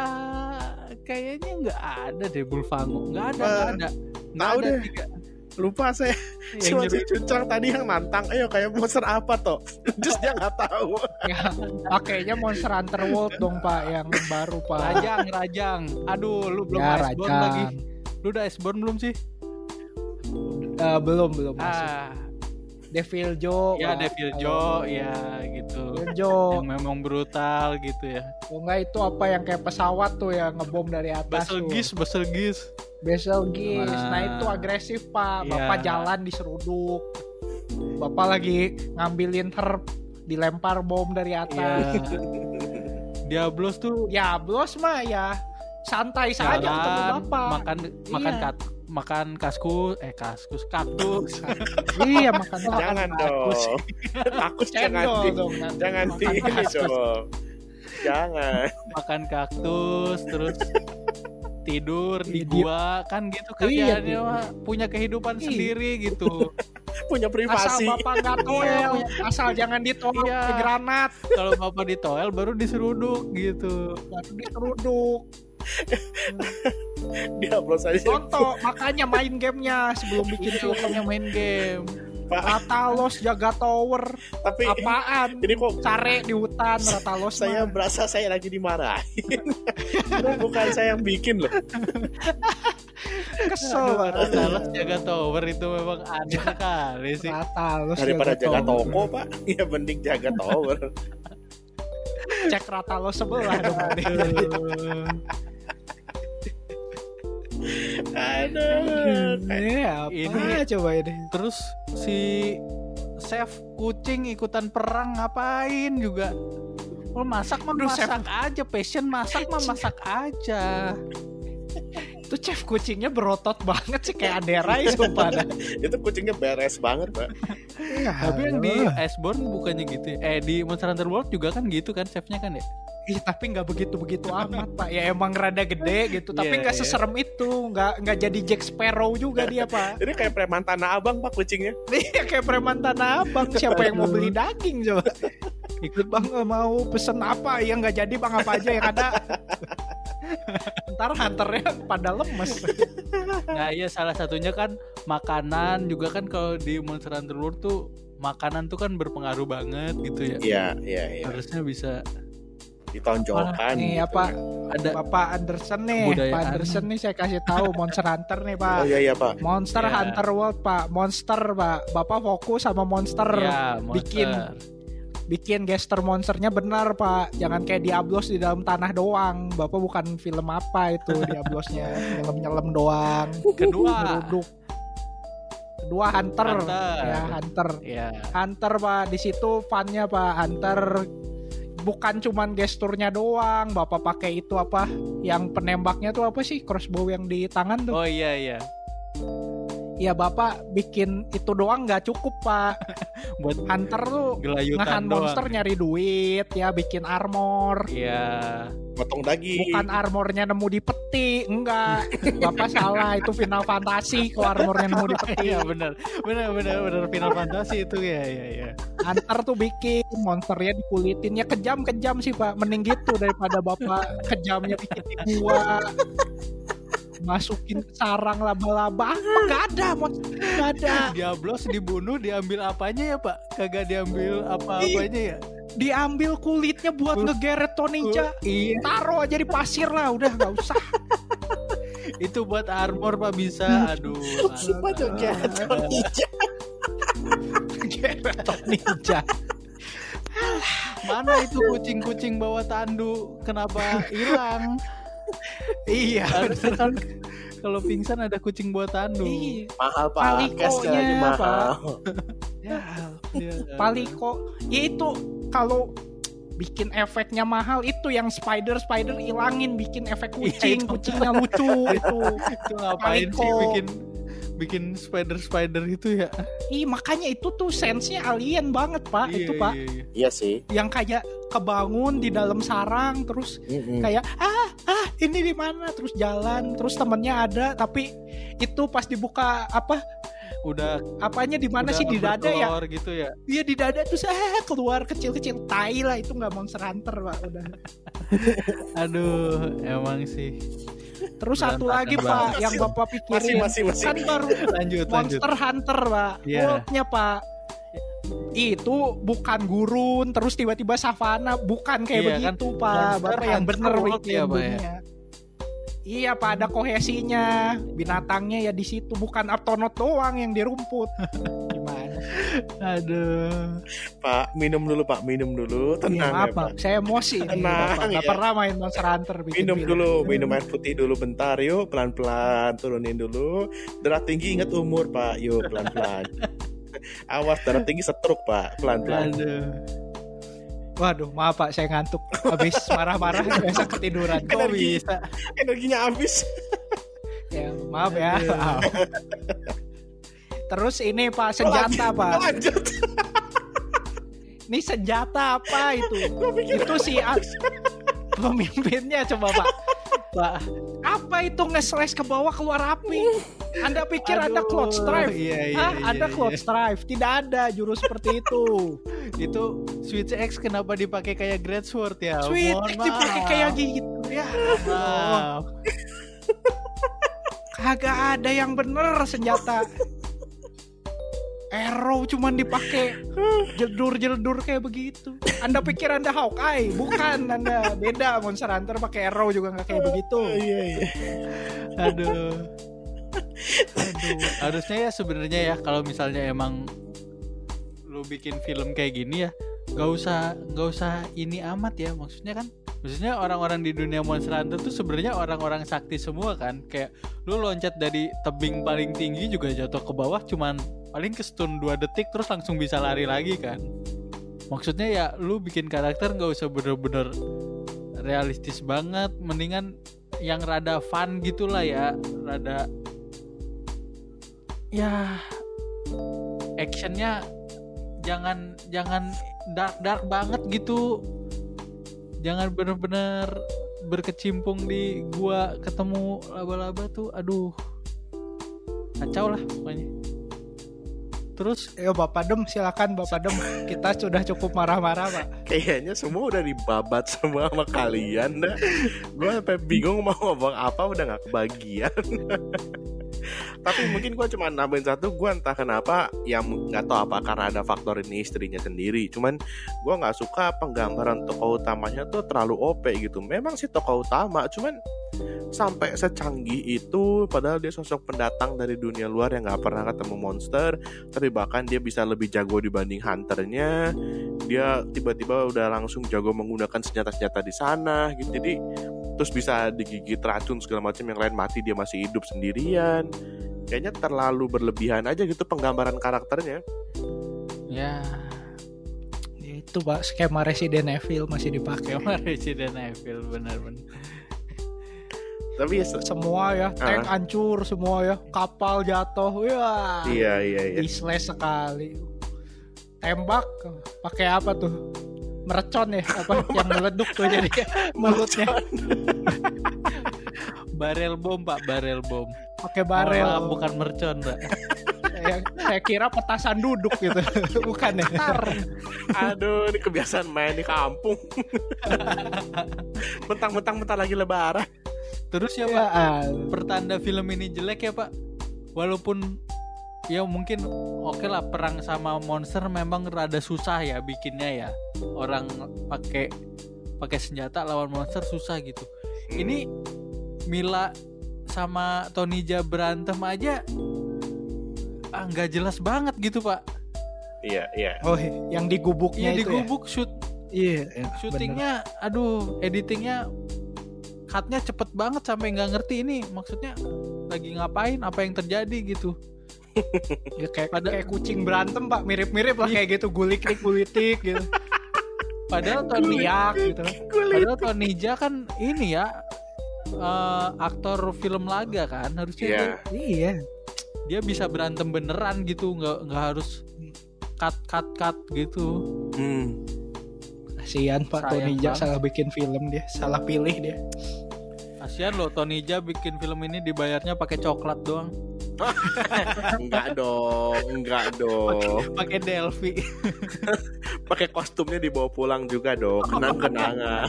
A: kayaknya nggak ada deh Bulfango nggak ada
C: Eh,
A: nggak ada nggak
C: tahu
A: ada
C: deh.
A: tiga
C: Lupa saya
A: yang
C: cuma si
A: nyuruh-
C: Cucang tadi yang nantang. Ayo kayak monster apa toh? Just dia nggak tahu.
B: pakainya Ah, Monster Hunter World dong pak yang baru pak
A: Rajang Rajang aduh lu belum
B: ya
A: Iceborne lagi
B: Rajang
A: lu udah Iceborne belum sih
B: Eh, belum belum masuk
A: ah
B: Devil Joe
A: ya
B: Pak.
A: Devil
B: Kalau-
A: Joe ya gitu
B: Devil Joe
A: yang memang brutal gitu ya
B: Kalau nggak itu apa yang kayak pesawat tuh ya ngebom dari atas
A: Basel
B: tuh.
A: Gis Basel Gis
B: Basel Gis. Nah
A: Ah.
B: itu agresif pak. Bapak
A: Iya.
B: jalan diseruduk. Bapak lagi ngambilin herb dilempar bom dari atas.
A: ya Diablos tuh
B: Ya blos mah ya santai
A: jalan
B: saja ketemu bapak.
A: makan makan
B: Iya.
A: kat- makan kaskus eh kaskus kaktus
B: iya makan
C: Jangan dong.
A: Bagus.
C: Takut jangan
B: Cendol
C: di,
B: dong. nanti.
C: jangan di
B: Makan
C: ini
B: kaskus.
C: dong. Jangan.
A: makan kaktus terus tidur di
B: Iya, dia-
A: gua kan gitu
B: Iya,
A: kerjaannya
B: dia-
A: mah punya kehidupan
B: Iya.
A: sendiri gitu
C: Punya
B: Asal
C: privasi.
B: bapak nggak toel, asal jangan ditolak
A: Iya.
B: pakai granat,
A: kalau bapak di toel baru diseruduk gitu
B: baru diseruduk.
C: Dia upload saja.
B: Contoh, makanya main gamenya sebelum bikin film.
A: yang main game
C: Iya. Pak,
B: Ratalos jaga tower
C: tapi
B: apaan?
C: ini kok
B: Care di hutan Ratalos
C: saya
B: mah.
C: berasa saya lagi dimarahin. Bukan saya yang bikin loh.
B: kesel banget.
A: Salah jaga tower itu memang aneh sekali sih
B: Ratalos
C: Daripada jaga
B: tower.
C: toko, Pak. Ya mending jaga tower.
B: Cek Ratalos sebelah dong. Ade.
C: Aduh.
B: Ini Iya, apa
A: Ini-
B: coba ini?
A: terus si chef kucing ikutan perang ngapain juga Oh, masak mah
B: Aduh, chef. Iya.
A: masak aja passion masak mah masak aja
B: Itu chef kucingnya berotot banget sih kayak Aderai sumpah. Nah, dah.
C: Itu kucingnya beres banget, Pak.
A: Tapi yang di Iceborne bukannya gitu ya? Eh di Monster Hunter World juga kan gitu kan chefnya kan ya?
B: Ih, tapi nggak begitu-begitu amat pak ya emang rada gede gitu
A: Iya,
B: tapi nggak
A: iya.
B: seserem itu nggak nggak jadi Jack Sparrow juga dia pak
C: Ini kayak preman tanah abang, Pak, kucingnya.
B: dia kayak preman tanah abang siapa yang mau beli daging coba
A: Ikut
B: Bang eh, mau pesen apa? Ya nggak jadi bang apa aja yang ada. Ntar hunternya pada lemes.
A: Nah iya salah satunya kan makanan juga kan kalau di Monster Hunter World tuh makanan tuh kan berpengaruh banget gitu ya.
C: Iya, iya, iya.
A: Harusnya bisa
C: Ditonjolkan.
B: Nih
C: gitu
B: apa
C: ya.
A: ada
B: Bapak Anderson nih, Pak
A: Kebudayaan.
B: Anderson nih saya kasih tahu Monster Hunter nih Pak.
C: Oh iya, iya, Pak.
B: Monster
A: Ya.
B: Hunter World Pak, monster Pak. Bapak fokus sama monster.
A: ya, monster.
B: bikin. Bikin gester monsternya benar Pak. Jangan kayak Diablos di dalam tanah doang. Bapak bukan film apa itu Diablosnya, nyelam-nyelam doang.
A: Kedua
B: Ngeruduk. Kedua Hunter.
A: Hunter.
B: Ya Hunter.
A: ya
B: Hunter pak di situ funnya pak Hunter bukan cuman gesturnya doang bapak pakai itu apa yang penembaknya tuh apa sih crossbow yang di tangan tuh
A: Oh iya iya
B: ya bapak bikin itu doang nggak cukup pak
A: buat
B: Hunter tuh
A: gelayutan
B: nahan
A: doang.
B: monster nyari duit ya bikin armor
A: Iya.
C: Potong daging.
B: bukan armornya nemu di peti enggak bapak salah itu final fantasi kalau armornya nemu di peti
A: Iya benar. Benar benar benar Final Fantasy itu ya ya ya.
B: Hunter tuh bikin monsternya dikulitin ya kejam-kejam sih pak mending gitu daripada bapak kejamnya bikin gua masukin ke sarang laba-laba apa gak ada monster gak ada
A: Diablos dibunuh diambil apanya ya Pak? Kagak diambil apa-apanya ya?
B: diambil kulitnya buat ngegeret Toninja
A: Iya,
B: taruh aja di pasir lah udah gak usah
A: itu buat armor Pak bisa. Aduh.
C: Sumpah tuh
A: aduh.
C: kayak Johnny Depp.
B: ngegeret Toninja
A: Mana itu kucing-kucing bawa tandu? Kenapa hilang?
B: iya
A: Harusnya kan kalau pingsan ada kucing bawa tandu.
B: Iya.
C: Mahal, Pak.
B: Palikonya,
C: Cashnya lagi mahal.
A: Iya.
B: Paliko ya itu kalau bikin efeknya mahal itu yang spider spider ilangin bikin efek
A: Iya,
B: kucing
A: itu.
B: kucingnya lucu itu
A: Itu ngapain sih
B: Paliko.
A: bikin bikin spider-spider itu ya?
B: Ih makanya itu tuh sense-nya alien banget pak
A: Iya,
B: Ah, itu pak
A: iya, iya.
C: Iya sih.
B: yang kayak kebangun di dalam sarang terus
A: Hmm.
C: Mm-mm.
B: kayak ah ah ini di mana terus jalan terus temennya ada tapi itu pas dibuka apa
A: udah
B: Apanya di mana
A: udah
B: sih di dada ya?
A: bertelur gitu ya
B: Iya di dada tuh saya keluar kecil-kecil tai lah itu nggak monster hunter pak udah.
A: aduh emang sih
B: Terus satu
A: Berantakan
B: lagi
A: banget.
B: pak yang bapak
C: masih
B: pikirin
C: masih masih
B: kan baru
A: lanjut lanjut
B: monster hunter pak.
A: Iya.
B: Worldnya pak itu bukan gurun terus tiba-tiba savana bukan
A: Iya,
B: kayak
A: kan?
B: begitu pak
A: Monster
B: bapak yang
A: Hunter
B: bener
A: World
B: bikin
A: ya, Pak, ya?
B: dunia. Iya pak ada kohesinya binatangnya ya di situ bukan Aptonot doang yang di rumput. Gimana?
A: aduh
C: pak minum dulu pak minum dulu tenang
B: Iya,
C: ya,
B: maaf,
C: pak
B: Pak. Saya emosi. nih,
C: Tenang,
B: Bapak. Nggak
C: ya.
B: pernah main Monster Hunter. bikin
C: minum
B: film.
C: dulu minum air putih dulu bentar yuk pelan pelan turunin dulu darah tinggi ingat umur pak yuk pelan pelan awas darah tinggi setruk pak pelan pelan
A: aduh
B: Waduh, maaf Pak, saya ngantuk. Habis marah-marah biasa ketiduran.
A: kok bisa
C: energinya habis
B: Ya, maaf ya.
A: Aduh.
B: maaf. Terus ini Pak senjata Pak.
C: lanjut
B: Ini senjata apa itu? Itu si A- pemimpinnya coba Pak.
A: pak
B: Apa itu nge-slash ke bawah keluar api? Anda pikir Anda
A: Aduh,
B: cloud strife?
A: iya, iya,
B: Hah,
A: iya,
B: Anda
A: iya.
B: cloud strife? Tidak ada jurus seperti itu.
A: itu switch X kenapa dipakai kayak great sword ya
B: Sweet,
A: Mohon
B: dipakai
A: maaf.
B: kayak gitu ya. Allah.
A: Maaf.
B: Kagak ada yang bener senjata. Arrow cuman dipakai jeldur-jeldur kayak begitu. Anda pikir Anda Hawkeye? Bukan, Anda beda Monster Hunter pakai arrow juga nggak kayak begitu.
C: iya iya
A: aduh aduh harusnya ya sebenarnya ya kalau misalnya emang lu bikin film kayak gini ya nggak usah nggak usah ini amat ya maksudnya kan maksudnya orang-orang di dunia monster hunter tuh sebenarnya orang-orang sakti semua kan kayak lu loncat dari tebing paling tinggi juga jatuh ke bawah cuman paling ke stun 2 detik terus langsung bisa lari lagi kan maksudnya ya lu bikin karakter nggak usah bener-bener realistis banget mendingan yang rada fun gitulah ya rada ya actionnya jangan jangan dark dark banget gitu jangan bener-bener berkecimpung di gua ketemu laba-laba tuh aduh kacau lah pokoknya terus
B: Yo Eh, Bapak Dem, silakan Bapak Dem. Kita sudah cukup marah-marah, Pak.
C: kayaknya semua udah dibabat semua sama kalian dah gue sampai bingung mau ngomong apa udah nggak kebagian tapi mungkin gue cuma nambahin satu gue entah kenapa ya m- nggak tahu apa karena ada faktor ini istrinya sendiri cuman gue nggak suka penggambaran tokoh utamanya tuh terlalu op gitu memang sih tokoh utama cuman sampai secanggih itu padahal dia sosok pendatang dari dunia luar yang nggak pernah ketemu monster tapi bahkan dia bisa lebih jago dibanding hunternya dia tiba-tiba udah langsung jago menggunakan senjata-senjata di sana gitu jadi terus bisa digigit racun segala macam yang lain mati dia masih hidup sendirian kayaknya terlalu berlebihan aja gitu penggambaran karakternya
A: ya
B: Ya, Itu, Pak, skema Resident Evil masih dipakai.
A: skema Resident Evil bener-bener
C: tapi ya se-
B: Semua ya, tank hancur semua ya, kapal jatuh. Wah.
C: iya iya iya
B: di slash sekali tembak pakai apa tuh merecon ya apa yang meleduk tuh jadi mulutnya
A: barel bom pak barel bom
B: pakai
A: Maaf,
B: barel
A: bukan mercon pak
B: yang saya kira petasan duduk gitu bukan ya
C: aduh ini kebiasaan main di kampung mentang-mentang bentar lagi lebaran
A: terus ya pak
B: ya al-
A: pertanda film ini jelek ya pak walaupun ya mungkin oke lah perang sama monster memang rada susah ya bikinnya ya orang pakai pakai senjata lawan monster susah gitu ini Mila sama Tonija berantem aja ah, nggak jelas banget gitu pak
C: iya iya
B: oh yang di
A: ya
B: gubuknya itu ya?
A: digubuk shoot
B: iya iya,
A: syutingnya aduh editingnya cutnya cepet banget sampai nggak ngerti ini maksudnya lagi ngapain apa yang terjadi gitu
B: bener. Ya, kayak,
A: Pada- Iya.
B: kayak kucing berantem pak mirip-mirip lah kayak gitu gulitik gulitik gitu
A: padahal Tony
B: teriak gitu
A: padahal Tony Jaa kan ini ya eh, aktor film laga kan harusnya
C: Iya.
A: dia-
B: iya
A: dia, bisa berantem beneran gitu nggak nggak harus cut cut cut gitu
C: Hmm.
B: kasihan pak
A: Sayang
B: Tony Jaa
A: banget.
B: salah bikin film dia salah pilih dia
A: kasian loh Tony Jaa bikin film ini dibayarnya pakai coklat doang
C: enggak dong, enggak dong.
A: pakai Delphi
C: Pakai kostumnya dibawa pulang juga dong, kenang-kenangan.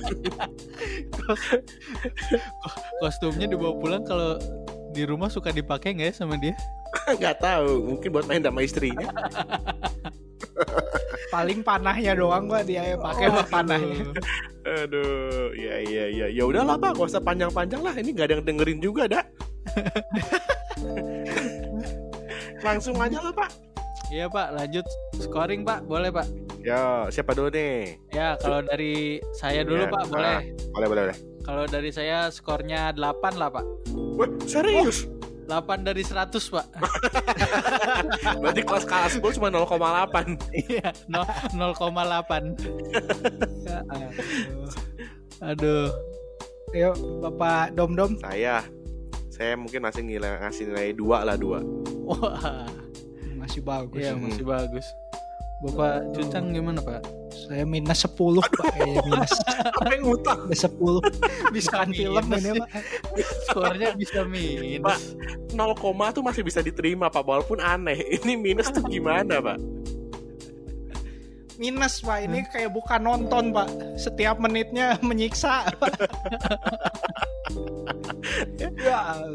A: kostumnya dibawa pulang kalau di rumah suka dipakai nggak ya sama dia
C: Enggak tahu, mungkin buat main sama istrinya.
B: Paling panahnya doang gua dia pakai
A: Oh.
B: buat panahnya.
C: Aduh, ya ya ya. Ya udahlah, Pak, gak usah panjang-panjang lah. Ini enggak ada yang dengerin juga, Dak. Langsung aja lah, Pak.
A: iya pak lanjut scoring pak boleh pak
C: Ya, siapa dulu nih?
A: ya kalau dari saya dulu
C: Ya,
A: pak boleh
C: ah, Boleh, boleh, boleh.
A: kalau dari saya skornya 8 lah pak
C: Wah, serius?
A: 8 dari 100 pak
C: Berarti kelas kelas gue cuma 0,8
A: Iya, nol- 0,8 Ya, aduh. aduh
B: Yuk, Bapak Dom-Dom.
C: Saya Saya mungkin masih nilai, ngasih nilai 2 lah 2
A: wah
B: Masih bagus.
A: iya masih bagus bapak Cucang gimana pak
B: Saya minus 10, Pak. Kayaknya minus.
C: Apa yang ngutang?
B: Minus 10.
A: bisa
B: Bukan film ini, Pak.
A: skornya bisa minus
C: Pak. 0, tuh masih bisa diterima Pak Walaupun aneh Ini minus tuh gimana Pak?
B: Minus, Pak. Ini kayak bukan nonton, Pak. Setiap menitnya menyiksa, Pak. ya, Allah.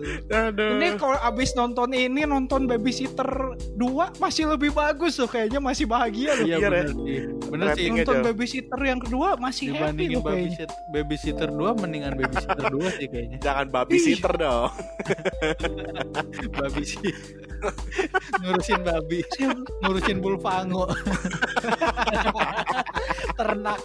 C: Aduh
A: Hmm.
B: ini kalau abis nonton ini nonton Babysitter 2 masih lebih bagus loh kayaknya masih bahagia loh.
A: iya ya.
C: Iya,
A: bener sih bener sih
C: Rating-
B: nonton
C: aja.
B: Babysitter yang kedua masih happy
A: dibandingin
B: loh kayaknya.
A: babysit babysitter 2 mendingan babysitter 2 sih kayaknya
C: Jangan babi sitter dong
A: babi sih ngurusin babi ngurusin bulfango
B: Ternak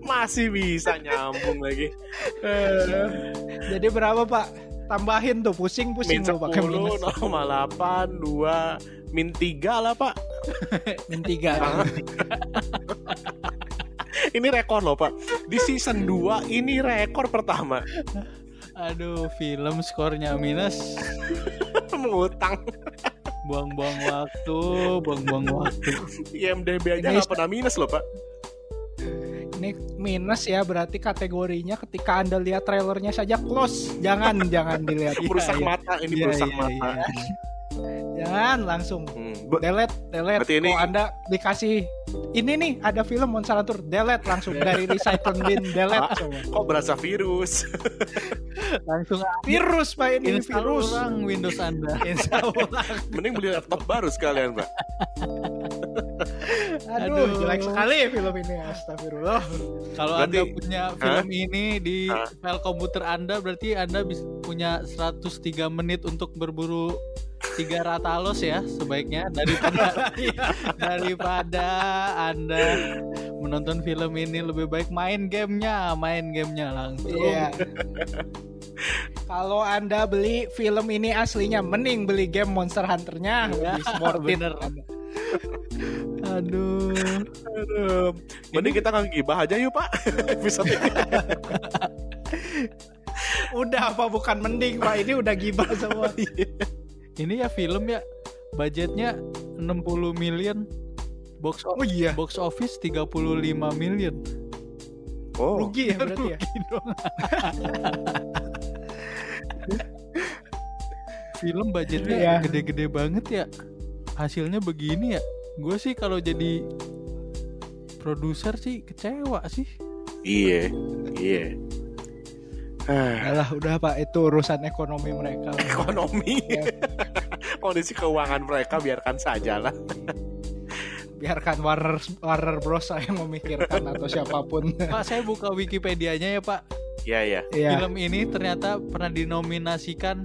C: Masih bisa nyambung lagi Eh,
B: Jadi berapa pak? Tambahin tuh pusing-pusing
C: Min
B: tuh
C: 10,
B: pakai minus
C: 0,8, 2 Min 3 lah Pak
B: min tiga.
C: Ini rekor loh Pak Di season 2 ini rekor pertama
A: aduh film skornya minus
C: Mengutang
A: buang-buang waktu buang-buang waktu
C: IMDB aja
B: Ini-
C: nggak pernah minus loh Pak
B: Ini minus ya berarti kategorinya ketika anda lihat trailernya saja close. Jangan jangan dilihat.
A: Iya,
C: Merusak
A: iya.
C: mata Ini
A: Iya,
C: merusak
A: iya,
C: mata
A: iya.
B: Jangan langsung
C: Hmm, bu-
B: delete delete.
C: Berarti ini-
B: Kalau anda dikasih ini nih ada film Monsalantur delete langsung dari recycling bin delete
C: Ah.
B: semua.
C: kok berasa virus
A: langsung
B: Virus pak ini
A: install
B: virus.
A: ulang Windows Anda install ulang
C: mending beli laptop baru sekalian pak
B: Aduh,
A: Aduh.
B: jelek sekali film ini astagfirullah.
A: kalau
C: Berarti-
A: Anda punya film ini di
C: Hah?
A: file komputer Anda berarti Anda bis- punya 103 menit untuk berburu tiga ratalos ya sebaiknya daripada
C: Iya.
A: daripada Anda menonton film ini lebih baik main gamenya main gamenya langsung
B: Iya. Kalau anda beli film ini aslinya, mending beli game Monster Hunter-nya.
A: Iya,
B: Lebih worth it.
A: bener. aduh
C: Aduh. mending kita ngegibah aja yuk pak episode ini
B: Udah apa bukan mending pak? Ini udah gibah semua.
A: ini ya film ya budgetnya 60 million box o-
B: Oh iya,
A: box office 35 million
C: oh
B: rugi ya berarti ya.
A: Rugi dong. Film budgetnya
B: Iya.
A: gede-gede banget ya. Hasilnya begini ya. Gue sih kalau jadi produser sih kecewa sih.
C: iya iya Ah,
B: Alah, udah pak, itu urusan ekonomi mereka.
A: Iya.
C: ekonomi kondisi keuangan mereka biarkan saja lah
B: Biarkan Warner Warner Bros yang memikirkan atau siapapun.
A: Pak saya buka Wikipedianya ya Pak.
C: ya ya
B: Iya.
A: Film ini ternyata pernah dinominasikan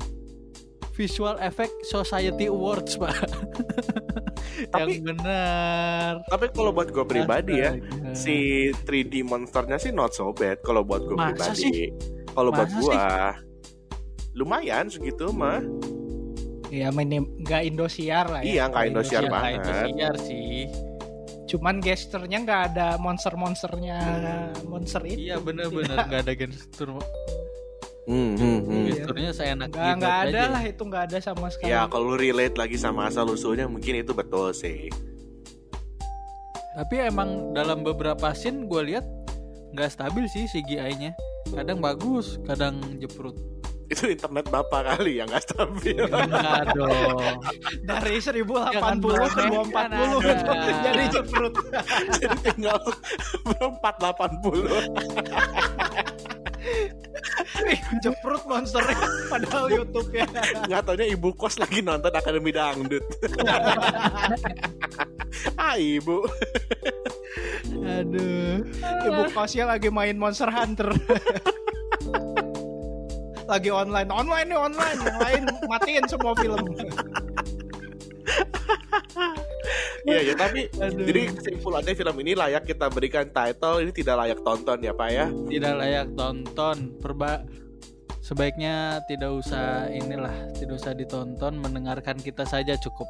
A: Visual Effect Society Awards Pak.
C: Tapi-
A: Yang benar.
C: tapi kalau buat gue pribadi ya
A: Astaga.
C: si 3D monsternya sih not so bad kalau buat gue
A: Masa
C: pribadi kalau buat
A: Masa
C: gue lumayan segitu mah
B: Iya, minim nggak Indosiar lah ya.
C: iya nggak Indosiar
A: Iya,
C: banget
A: Indosiar sih.
B: Cuman gesturnya nggak ada monster-monsternya monster itu.
A: Iya benar-benar nggak ada gestur
C: Hmm, hmm, hmm.
B: Iya.
A: gesturnya seenak
B: Nggak
A: jidat
B: nggak ada
A: Nah, gitu aja.
B: lah itu nggak ada sama sekali.
C: Ya kalau lu relate lagi sama asal usulnya mungkin itu betul sih.
A: Tapi emang dalam beberapa scene gue lihat nggak stabil sih CGI-nya. Kadang bagus, kadang jeprut.
C: itu internet bapak kali yang nggak stabil
A: Enggak dong.
B: Dari 1080 ke
A: Jangan meremehkan
B: 240
A: Anda.
B: jadi ceprut.
C: jadi tinggal belum 480
B: Ih, ceprut monsternya padahal YouTube ya.
C: nggak taunya ibu kos lagi nonton Akademi Dangdut ah ibu
B: Aduh. Ibu kosnya lagi main Monster Hunter. lagi online. Online nih online. Yang lain matiin semua film.
C: iya ya tapi
B: Aduh.
C: jadi kesimpulannya film ini layak kita berikan title ini tidak layak tonton ya pak ya
A: Tidak layak tonton. Perba sebaiknya tidak usah inilah, tidak usah ditonton, mendengarkan kita saja cukup.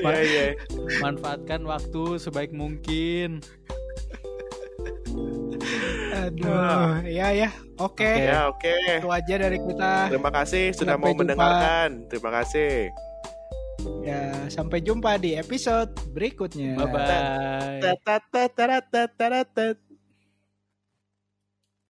C: iya iya
A: Manfaatkan waktu sebaik mungkin.
B: Aduh. Iya ya. Oke.
C: ya oke
B: Itu aja dari kita.
C: terima kasih
B: Sampai
C: sudah mau
B: jumpa.
C: mendengarkan terima kasih
B: Ya,
A: Iya.
B: sampai jumpa di episode berikutnya.
A: Bye bye.
C: Ta-ta-ta-ta-ta-ta-ta-ta.